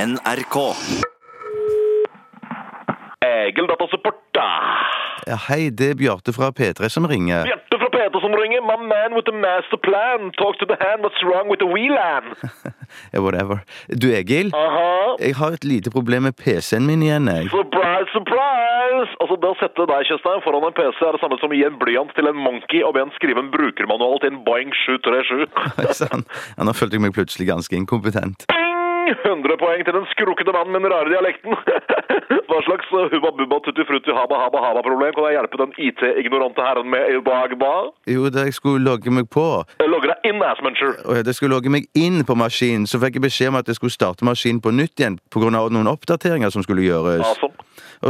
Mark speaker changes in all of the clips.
Speaker 1: NRK.
Speaker 2: Egil Datasupport, da.
Speaker 3: Ja, Hei, det er Bjarte fra P3 som ringer.
Speaker 2: Bjarte fra Petersen ringer. My man with the master plan. Talk to the hand. What's wrong with the wheelan?
Speaker 3: Eh, Whatever. Du, Egil,
Speaker 2: Aha.
Speaker 3: jeg har et lite problem med PC-en min igjen. jeg.
Speaker 2: Surprise, surprise! Altså, Det å sette deg Kjøstheim, foran en PC er det samme som å gi en blyant til en monkey og be han skrive en brukermanual til en Boeing 737.
Speaker 3: Oi, sann. Ja, Nå følte jeg meg plutselig ganske inkompetent.
Speaker 2: Bing! 100 poeng til den skrukkete mannen med den rare dialekten. Hva slags eh, hubba bubba tutti frutti haba haba haba problem kan jeg hjelpe den IT-ignorante herren med i dag, ba?
Speaker 3: Jo, da jeg skulle logge meg på,
Speaker 2: Jeg Logger deg inn, assmuncher.
Speaker 3: og da jeg skulle logge meg inn på maskinen, så fikk jeg beskjed om at jeg skulle starte maskinen på nytt igjen pga. noen oppdateringer som skulle gjøres.
Speaker 2: Awesome.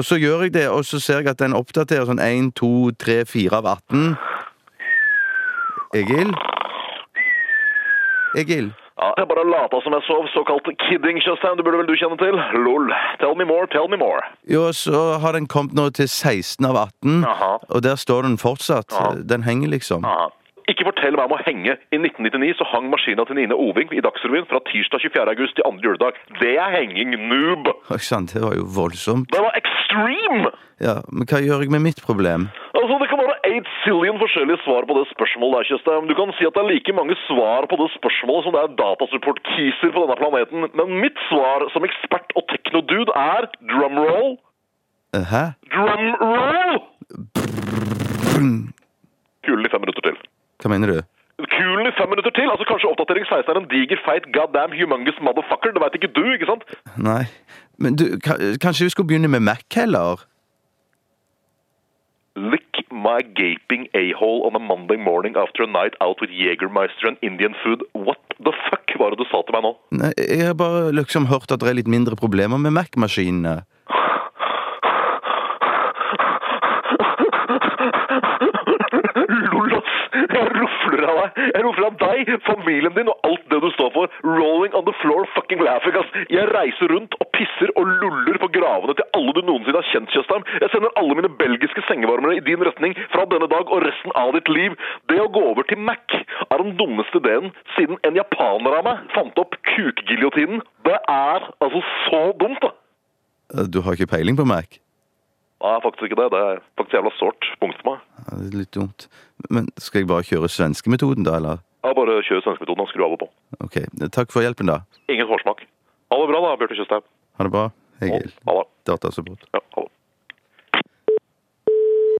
Speaker 3: Og så gjør jeg det, og så ser jeg at den oppdaterer sånn 1, 2, 3, 4 av 18. Egil? Egil?
Speaker 2: Ja, jeg bare lata som jeg sov, såkalt kidding, Kjøstheim. Det burde vel du kjenne til? Lol. Tell me more, tell me more.
Speaker 3: Jo, så har den kommet nå til 16 av 18,
Speaker 2: Aha.
Speaker 3: og der står den fortsatt.
Speaker 2: Aha.
Speaker 3: Den henger liksom.
Speaker 2: Aha. Ikke fortell meg om å henge. I 1999 så hang maskina til Nine Oving i Dagsrevyen fra tirsdag 24. august til andre juledag. Det er henging, noob!
Speaker 3: Oi sann, det var jo voldsomt.
Speaker 2: Det var extreme!
Speaker 3: Ja, Men hva gjør jeg med mitt problem?
Speaker 2: Altså, Det kan være 8 zillion forskjellige svar på det spørsmålet. der, Tjøstheim. Du kan si at det er like mange svar på det spørsmålet som det er datasupport-kiser på denne planeten. Men mitt svar som ekspert og teknodude er drumroll,
Speaker 3: Eh, Hæ?
Speaker 2: drumroll! Kulen i fem minutter til.
Speaker 3: Hva mener du?
Speaker 2: Kulen i fem minutter til? Altså Kanskje oppdatering 16 er en diger, feit, goddamn humongous motherfucker? Det veit ikke du, ikke sant?
Speaker 3: Nei. Men du, ka- kanskje vi skulle begynne med Mac heller?
Speaker 2: Lick my gaping a-hole on a Monday morning after a night out with Jägermeister and Indian food. What the fuck var det du sa til meg nå?
Speaker 3: Nei, jeg har bare liksom hørt at det er litt mindre problemer med Mac-maskinene.
Speaker 2: Lol, ass! Jeg rofler av deg. Jeg rofler av deg, familien din og alt det du står for. Rolling on the floor fucking laughing, ass. Jeg reiser rundt og pisser og luller på gravene til alle du noensinne har kjent, Tjøstheim. Jeg sender alle mine belgiske sengevarmere i din retning fra denne dag og resten av ditt liv. Det å gå over til Mac er den dummeste ideen siden en japaner av meg fant opp kukgiljotinen. Det er altså så dumt, da.
Speaker 3: Eh, Du har ikke peiling på Mac?
Speaker 2: Nei, faktisk ikke det. Det er faktisk jævla sårt. Punkt for meg.
Speaker 3: Ja, det er litt dumt. Men skal jeg bare kjøre svenskemetoden, da, eller?
Speaker 2: Ja, bare kjør svenskemetoden og skru av og på.
Speaker 3: OK. Takk for hjelpen, da.
Speaker 2: Ingen forsmak. Ha det bra da, Bjørte Tjøstheim.
Speaker 3: Ha det bra.
Speaker 2: Ha
Speaker 3: Egil.
Speaker 2: det.
Speaker 3: Datasupport.
Speaker 2: Ja, ha det.